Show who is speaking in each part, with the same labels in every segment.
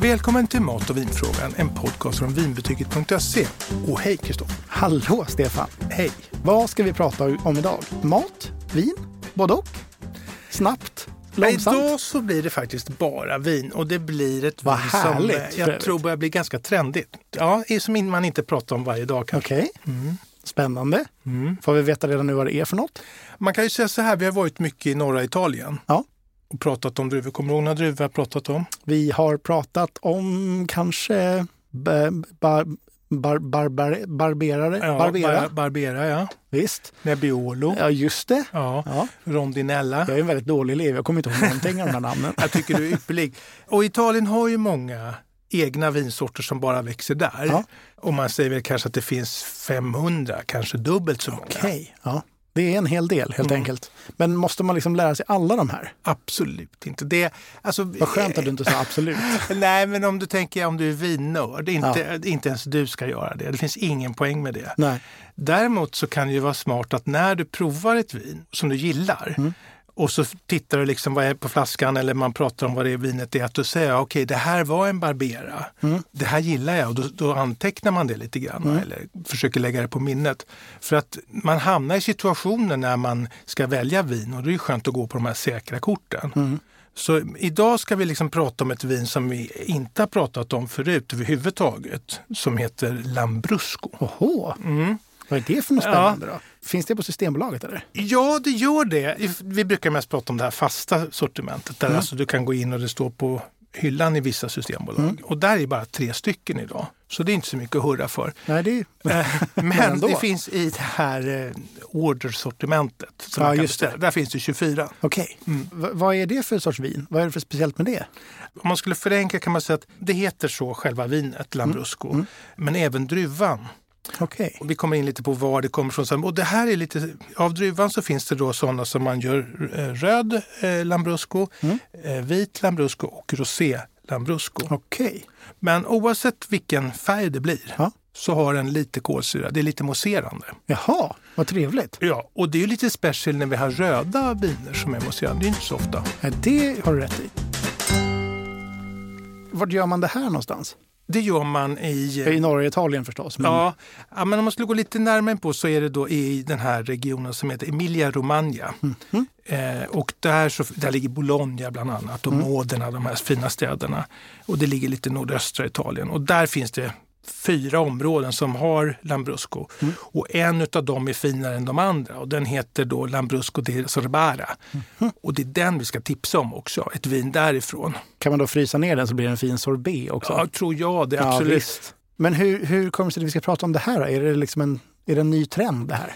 Speaker 1: Välkommen till Mat och vinfrågan, en podcast från vinbetyget.se. Och hej Kristoffer!
Speaker 2: Hallå Stefan!
Speaker 1: Hej!
Speaker 2: Vad ska vi prata om idag? Mat? Vin? Både och? Snabbt?
Speaker 1: Nej,
Speaker 2: Långsamt?
Speaker 1: idag så blir det faktiskt bara vin och det blir ett
Speaker 2: Vad
Speaker 1: vin
Speaker 2: härligt,
Speaker 1: som eh,
Speaker 2: för
Speaker 1: jag
Speaker 2: övrigt.
Speaker 1: tror börjar bli ganska trendigt. Ja, det är som man inte pratar om varje dag kanske.
Speaker 2: Okej. Mm. Spännande. Får vi veta redan nu vad det är för något?
Speaker 1: Man kan ju säga så här, vi har varit mycket i norra Italien
Speaker 2: Ja.
Speaker 1: och pratat om druvor. Kommer du ihåg några druvor vi har pratat om?
Speaker 2: Vi har pratat om kanske ba- ba- bar, barbar, barberare? Barbera?
Speaker 1: Bar- Barbera, ja.
Speaker 2: Visst.
Speaker 1: Nebbiolo.
Speaker 2: Ja, just det.
Speaker 1: Ja.
Speaker 2: Ja.
Speaker 1: Rondinella.
Speaker 2: Jag är en väldigt dålig elev. Jag kommer inte ihåg någonting av de här namnen.
Speaker 1: Jag tycker du är ypperlig. Och Italien har ju många egna vinsorter som bara växer där.
Speaker 2: Ja.
Speaker 1: Och man säger väl kanske att det finns 500, kanske dubbelt så många.
Speaker 2: Okej. Ja. Det är en hel del helt enkelt. Men måste man liksom lära sig alla de här?
Speaker 1: Absolut inte. Det, alltså, eh,
Speaker 2: Vad skönt att du inte sa absolut.
Speaker 1: Nej, men om du tänker om du är vinnörd, inte, inte ens du ska göra det. Det finns ingen poäng med det.
Speaker 2: Nej.
Speaker 1: Däremot så kan det ju vara smart att när du provar ett vin som du gillar och så tittar du liksom vad är på flaskan eller man pratar om vad det är vinet är, att du säger okej det här var en Barbera, det här gillar jag och då, då antecknar man det lite grann va, eller försöker lägga det på minnet. För att man hamnar i situationer när man ska välja vin och det är ju skönt att gå på de här säkra korten. Så idag ska vi liksom prata om ett vin som vi inte har pratat om förut överhuvudtaget, som heter Lambrusco.
Speaker 2: Oho. Vad är det för något
Speaker 1: Ja.
Speaker 2: spännande då? Finns det på Systembolaget eller?
Speaker 1: Ja, det gör det. Vi brukar mest prata om det här fasta sortimentet
Speaker 2: Mm.
Speaker 1: där alltså du kan gå in och det står på hyllan i vissa systembolag.
Speaker 2: Mm.
Speaker 1: Och där är bara tre stycken idag. Så det är inte så mycket att hurra för.
Speaker 2: Nej, det är...
Speaker 1: Eh, Men
Speaker 2: ändå.
Speaker 1: det finns i det här eh, ordersortimentet. Som
Speaker 2: Ja,
Speaker 1: man kan
Speaker 2: just det.
Speaker 1: beställa. Där finns det 24.
Speaker 2: Okej.
Speaker 1: Mm.
Speaker 2: V- vad är det för sorts vin? Vad är det för speciellt med det?
Speaker 1: Om man skulle förenkla kan man säga att det heter så själva vinet,
Speaker 2: Mm.
Speaker 1: Lambrusco. Men även druvan.
Speaker 2: Okej.
Speaker 1: Och Vi kommer in lite på var det kommer från. sen. Och det här är lite, av druvan så finns det då sådana som man gör eh, röd eh, Lambrusco, eh, vit Lambrusco och rosé Lambrusco.
Speaker 2: Okej.
Speaker 1: Men oavsett vilken färg det blir
Speaker 2: Ja.
Speaker 1: så har den lite kolsyra. Det är lite mousserande.
Speaker 2: Jaha, vad trevligt.
Speaker 1: Ja, och det är ju lite special när vi har röda viner som är mousserande. Det är inte så ofta.
Speaker 2: Ja, det har du rätt i. Vart gör man det här någonstans?
Speaker 1: Det gör man i... eh,
Speaker 2: I norra Italien förstås. Men...
Speaker 1: Ja, ja, men om man skulle gå lite närmare på så är det då i den här regionen som heter Emilia-Romagna.
Speaker 2: Mm.
Speaker 1: Eh, och där, så, där ligger Bologna bland annat
Speaker 2: Mm.
Speaker 1: och Modena, de här fina städerna. Och det ligger lite nordöstra Italien. Och där finns det fyra områden som har Lambrusco.
Speaker 2: Mm.
Speaker 1: Och en av dem är finare än de andra och den heter då Lambrusco di Sorbara.
Speaker 2: Mm.
Speaker 1: Och det är den vi ska tipsa om också, ett vin därifrån.
Speaker 2: Kan man då frysa ner den så blir det en fin sorbet också?
Speaker 1: Ja, tror jag det,
Speaker 2: Ja,
Speaker 1: absolut.
Speaker 2: visst. Men hur, hur kommer det sig att vi ska prata om det här? då? Är det, liksom en, är det en ny trend det här?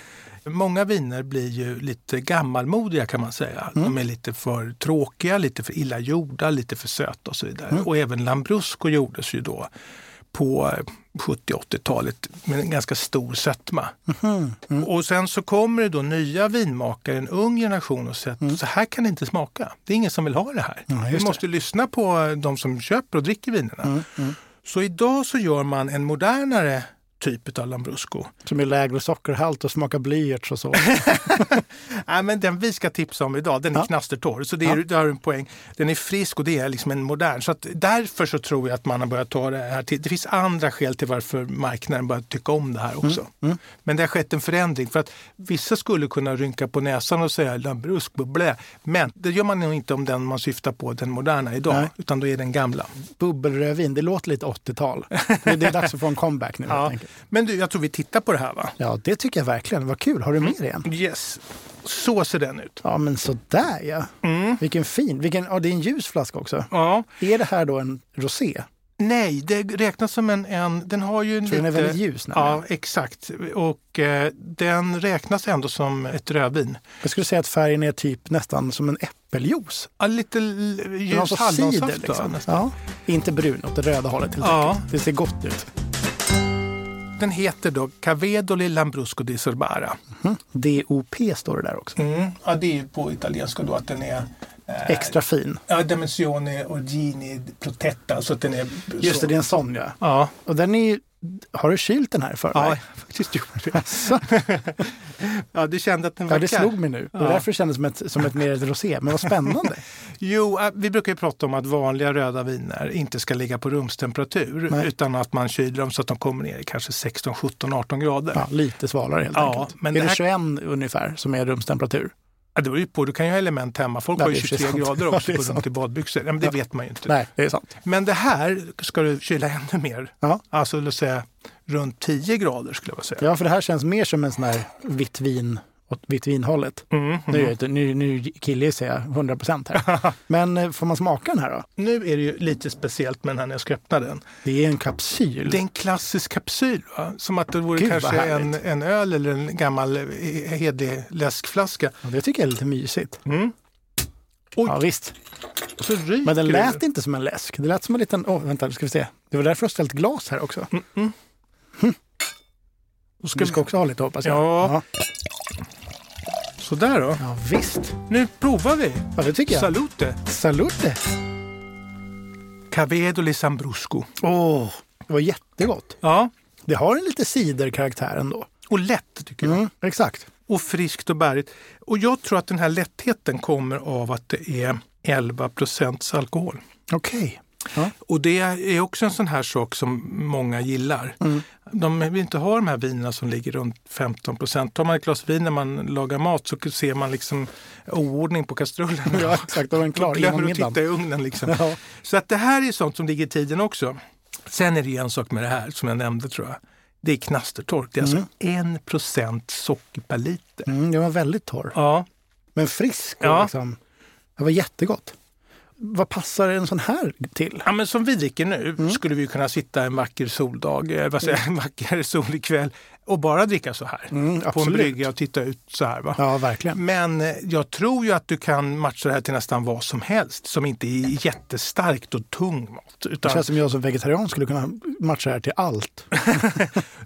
Speaker 1: Många viner blir ju lite gammalmodiga kan man säga. De är lite för tråkiga, lite för illa gjorda, lite för söta och så vidare. Och även Lambrusco gjordes ju då på 70-80-talet med en ganska stor sötma. Och sen så kommer det då nya vinmakare, en ung generation och säger att så här kan det inte smaka. Det är ingen som vill ha det här.
Speaker 2: Ja,
Speaker 1: Vi
Speaker 2: just
Speaker 1: måste lyssna på de som köper och dricker vinerna. Så idag så gör man en modernare typ av Lambrusco.
Speaker 2: Som är lägre sockerhalt och smakar blyerts och så.
Speaker 1: Nej, men den vi ska tipsa om idag, den är
Speaker 2: Ja.
Speaker 1: knastertorr. Så det är, där har du en poäng. Den är frisk och det är liksom en modern. Så att därför så tror jag att man har börjat ta det här till. Det finns andra skäl till varför marknaden börjar tycka om det
Speaker 2: Mm,
Speaker 1: här också. Men det har skett en förändring. För att vissa skulle kunna rynka på näsan och säga lambrusk, blä. Men det gör man nog inte om den man syftar på, den moderna idag.
Speaker 2: Nej.
Speaker 1: Utan då är den gamla.
Speaker 2: Bubbelrödvin, det låter lite 80-tal. Det, det är dags att få en comeback nu helt
Speaker 1: Ja.
Speaker 2: enkelt.
Speaker 1: Men du, jag tror vi tittar på det här va?
Speaker 2: Ja, det tycker jag verkligen. Vad kul. Har du
Speaker 1: Mm.
Speaker 2: med dig en?
Speaker 1: Yes. Så ser den ut. Mm.
Speaker 2: Ja, men sådär ja. Vilken fin. Vilken, ja, det är en ljus flaska också.
Speaker 1: Ja.
Speaker 2: Är det här då en rosé?
Speaker 1: Nej, det räknas som en... en den har ju en
Speaker 2: För den är
Speaker 1: lite-
Speaker 2: väldigt ljus. nämligen.
Speaker 1: Ja, exakt. Och eh, den räknas ändå som ett rödvin.
Speaker 2: Jag skulle säga att färgen är typ nästan som en äppeljuice.
Speaker 1: Ja, lite l-
Speaker 2: Den har
Speaker 1: ljus
Speaker 2: så
Speaker 1: hallonsaft.
Speaker 2: cider,
Speaker 1: Liksom.
Speaker 2: Ja. Inte brun, åt det röda hållet helt
Speaker 1: Ja.
Speaker 2: enkelt. Det ser gott ut.
Speaker 1: Den heter då Cavedoli Lambrusco di Sorbara.
Speaker 2: Mhm. DOP står det där också.
Speaker 1: Mm. Ja, det är ju på italienska då att den är eh,
Speaker 2: Extra fin.
Speaker 1: Ja, Dimensione Orgini Protetta. Så att den är
Speaker 2: Just
Speaker 1: så.
Speaker 2: det, det är en sån ja.
Speaker 1: Ja,
Speaker 2: Och den är ju... Har du kylt den här i förväg?
Speaker 1: ja, jag har faktiskt gjort det.
Speaker 2: Asså.
Speaker 1: Ja, du kände att den
Speaker 2: Ja, det
Speaker 1: verkar-
Speaker 2: slog mig nu. Det var
Speaker 1: Ja.
Speaker 2: därför det kändes som ett, som ett mer ett rosé. Men vad spännande.
Speaker 1: Jo, eh, vi brukar ju prata om att vanliga röda viner inte ska ligga på rumstemperatur
Speaker 2: Nej.
Speaker 1: utan att man kyler dem så att de kommer ner i kanske 16, 17, 18 grader.
Speaker 2: Ja, lite svalare helt
Speaker 1: Ja,
Speaker 2: enkelt.
Speaker 1: men det
Speaker 2: är det
Speaker 1: här- Typ.
Speaker 2: 21 ungefär som är rumstemperatur?
Speaker 1: Ja, det beror ju på, du kan ju ha element hemma. Folk
Speaker 2: Nej,
Speaker 1: har ju
Speaker 2: det är
Speaker 1: 23
Speaker 2: sant.
Speaker 1: grader
Speaker 2: Ja,
Speaker 1: också
Speaker 2: det är
Speaker 1: på runt
Speaker 2: sant.
Speaker 1: i badbyxor. Ja, men det
Speaker 2: Ja.
Speaker 1: vet man ju inte.
Speaker 2: Nej, det är sant.
Speaker 1: Men det här ska du kyla ännu mer.
Speaker 2: Ja.
Speaker 1: Alltså låt säga runt 10 grader skulle jag vilja säga.
Speaker 2: Ja, för det här känns mer som en sån här vitt vin åt vitt vinhållet.
Speaker 1: Mm,
Speaker 2: Nu, är jag inte- nu, nu killgissar jag 100 procent här. Men eh, får man smaka den här då?
Speaker 1: Nu är det ju lite speciellt med den här när jag ska öppna
Speaker 2: Mm.
Speaker 1: den.
Speaker 2: Det är en kapsyl.
Speaker 1: Det är en klassisk kapsyl, va? som att det vore
Speaker 2: Gud, vad
Speaker 1: kanske en,
Speaker 2: härligt.
Speaker 1: en öl eller en gammal eh, hederlig läskflaska.
Speaker 2: Ja, det tycker jag är lite mysigt.
Speaker 1: Mm.
Speaker 2: Ja, visst.
Speaker 1: Och så ryker
Speaker 2: Men den
Speaker 1: det.
Speaker 2: lät inte som en läsk. Det lät som en liten... Åh, vänta, nu ska vi se. Det var därför jag ställt glas här också.
Speaker 1: Och ska
Speaker 2: Du ska också ha lite hoppas jag.
Speaker 1: Mm. Ja.
Speaker 2: ja.
Speaker 1: Sådär då.
Speaker 2: Ja, visst.
Speaker 1: Nu provar vi.
Speaker 2: Ja, det tycker jag.
Speaker 1: Salute!
Speaker 2: Salute!
Speaker 1: Cavedo di Sambrusco.
Speaker 2: Åh, det var jättegott.
Speaker 1: Ja,
Speaker 2: Det har en lite ciderkaraktär ändå.
Speaker 1: och lätt tycker jag.
Speaker 2: Mm, exakt.
Speaker 1: och friskt och bärigt. Och jag tror att den här lättheten kommer av att det är 11 procents alkohol.
Speaker 2: Okej. Ja.
Speaker 1: Och det är också en sån här sak som många gillar.
Speaker 2: Mm.
Speaker 1: De vill inte ha de här vinerna som ligger runt 15 procent. Tar man ett glas vin när man lagar mat så ser man liksom oordning på kastrullen.
Speaker 2: ja, exakt. Det var en klar innan
Speaker 1: Glömmer att titta
Speaker 2: middagen.
Speaker 1: i ugnen liksom.
Speaker 2: Ja.
Speaker 1: Så att det här är sånt som ligger i tiden också. Sen är det ju en sak med det här som jag nämnde tror jag. Det är knastertork. Det är alltså 1 procent socker per liter.
Speaker 2: Mm, den var väldigt torr.
Speaker 1: Ja,
Speaker 2: Men frisk. och
Speaker 1: Ja.
Speaker 2: Liksom. Det var jättegott. Vad passar en sån här till?
Speaker 1: Ja, men som vi dricker nu
Speaker 2: Mm.
Speaker 1: skulle vi kunna sitta en vacker soldag, eh, vad säger, jag, en vacker solig kväll och bara dricka så här. på en
Speaker 2: Mm, absolut.
Speaker 1: brygga och titta ut så här. Va?
Speaker 2: Ja, verkligen.
Speaker 1: Men eh, jag tror ju att du kan matcha det här till nästan vad som helst som inte är jättestarkt och tung mat.
Speaker 2: Det
Speaker 1: Utan
Speaker 2: känns som Alltså, jag som vegetarian skulle kunna matcha det här till allt.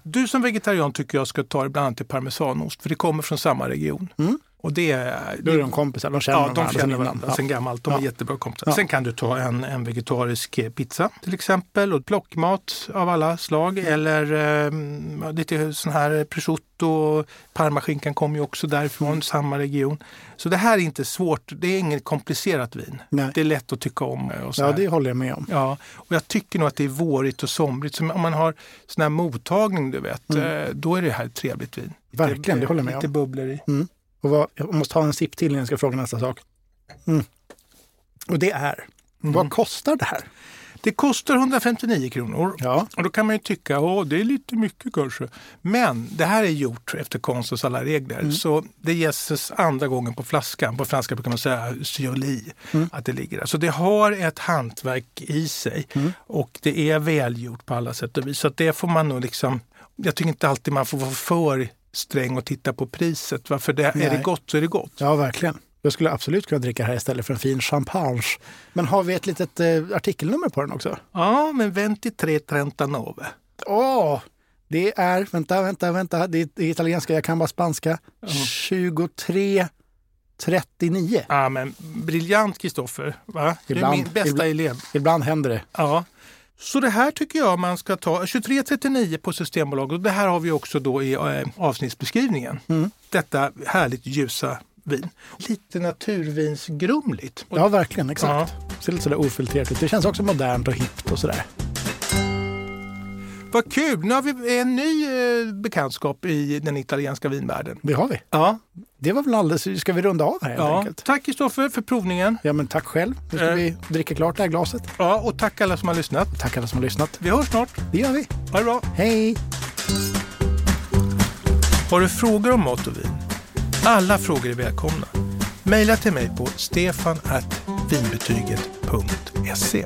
Speaker 1: Du som vegetarian tycker jag ska ta det bland annat till parmesanost för det kommer från samma region. Och det är,
Speaker 2: Då är de kompisar, de känner
Speaker 1: Ja, de
Speaker 2: sedan
Speaker 1: känner
Speaker 2: innan.
Speaker 1: varandra
Speaker 2: Ja.
Speaker 1: sen gammalt. De är
Speaker 2: Ja.
Speaker 1: jättebra kompisar.
Speaker 2: Ja.
Speaker 1: Sen kan du ta en, en vegetarisk eh, pizza till exempel och plockmat av alla slag.
Speaker 2: Mm.
Speaker 1: Eller ehm, ja, lite sån här prosciutto. Parmaskinkan kommer ju också därifrån,
Speaker 2: Mm.
Speaker 1: samma region. Så det här är inte svårt. Det är inget komplicerat vin.
Speaker 2: Nej.
Speaker 1: Det är lätt att tycka om. eh, Och så
Speaker 2: Ja,
Speaker 1: här.
Speaker 2: det håller jag med om.
Speaker 1: Ja, och jag tycker nog att det är vårigt och somrigt. Så om man har sån här mottagning, du vet, eh, då är det här ett trevligt vin. Lite-
Speaker 2: Mm. Verkligen, det håller jag med
Speaker 1: Lite
Speaker 2: om.
Speaker 1: bubblor i.
Speaker 2: Och vad, jag måste ha en sipp till innan jag ska fråga nästa sak. Mm. Och det är, vad kostar det här?
Speaker 1: Det kostar 159 kronor.
Speaker 2: Ja,
Speaker 1: Och då kan man ju tycka att det är lite mycket kanske. Men det här är gjort efter konstens alla regler.
Speaker 2: Mm.
Speaker 1: Så det ges andra gången på flaskan. På franska brukar man säga syoli.
Speaker 2: Mm.
Speaker 1: Att det ligger där. Så det har ett hantverk i sig.
Speaker 2: Mm.
Speaker 1: Och det är välgjort på alla sätt och vis. Så att det får man nog liksom... Jag tycker inte alltid man får vara för sträng och titta på priset. Va? För det, är det
Speaker 2: Nej.
Speaker 1: gott så är det gott.
Speaker 2: ja verkligen. Jag skulle absolut kunna dricka här istället för en fin champagne. Men har vi ett litet eh, artikelnummer på den också?
Speaker 1: Ja, men 23 Trentanove.
Speaker 2: Åh! det är, vänta, vänta, vänta, det är, det är italienska, jag kan bara spanska. 2339.
Speaker 1: Ja, men briljant Kristoffer. va? Du är
Speaker 2: Ibland-
Speaker 1: min bästa
Speaker 2: ibland-
Speaker 1: elev.
Speaker 2: Ibland händer det.
Speaker 1: Ja. Så det här tycker jag man ska ta. 23.39 på Systembolaget. Och det här har vi också då i eh, avsnittsbeskrivningen.
Speaker 2: Mm.
Speaker 1: Detta härligt ljusa vin. Lite naturvinsgrumligt. Och-
Speaker 2: Ja, verkligen, exakt. Ser lite sådär ofiltrerat ut. Det känns också modernt och hippt och sådär.
Speaker 1: Vad kul! Nu har vi en ny eh, bekantskap i den italienska vinvärlden.
Speaker 2: Det har vi.
Speaker 1: Ja,
Speaker 2: Det var väl alldeles, ska vi runda av här helt
Speaker 1: ja.
Speaker 2: enkelt?
Speaker 1: Tack Kristoffer för provningen.
Speaker 2: Ja, men tack själv. Nu ska
Speaker 1: Eh.
Speaker 2: vi dricka klart det här glaset.
Speaker 1: Ja, och tack alla som har lyssnat.
Speaker 2: Tack alla som har lyssnat.
Speaker 1: Vi hörs snart.
Speaker 2: Det gör vi.
Speaker 1: Ha det bra!
Speaker 2: Hej!
Speaker 1: Har du frågor om mat och vin? Alla frågor är välkomna. Maila till mig på stefanvinbetyget.se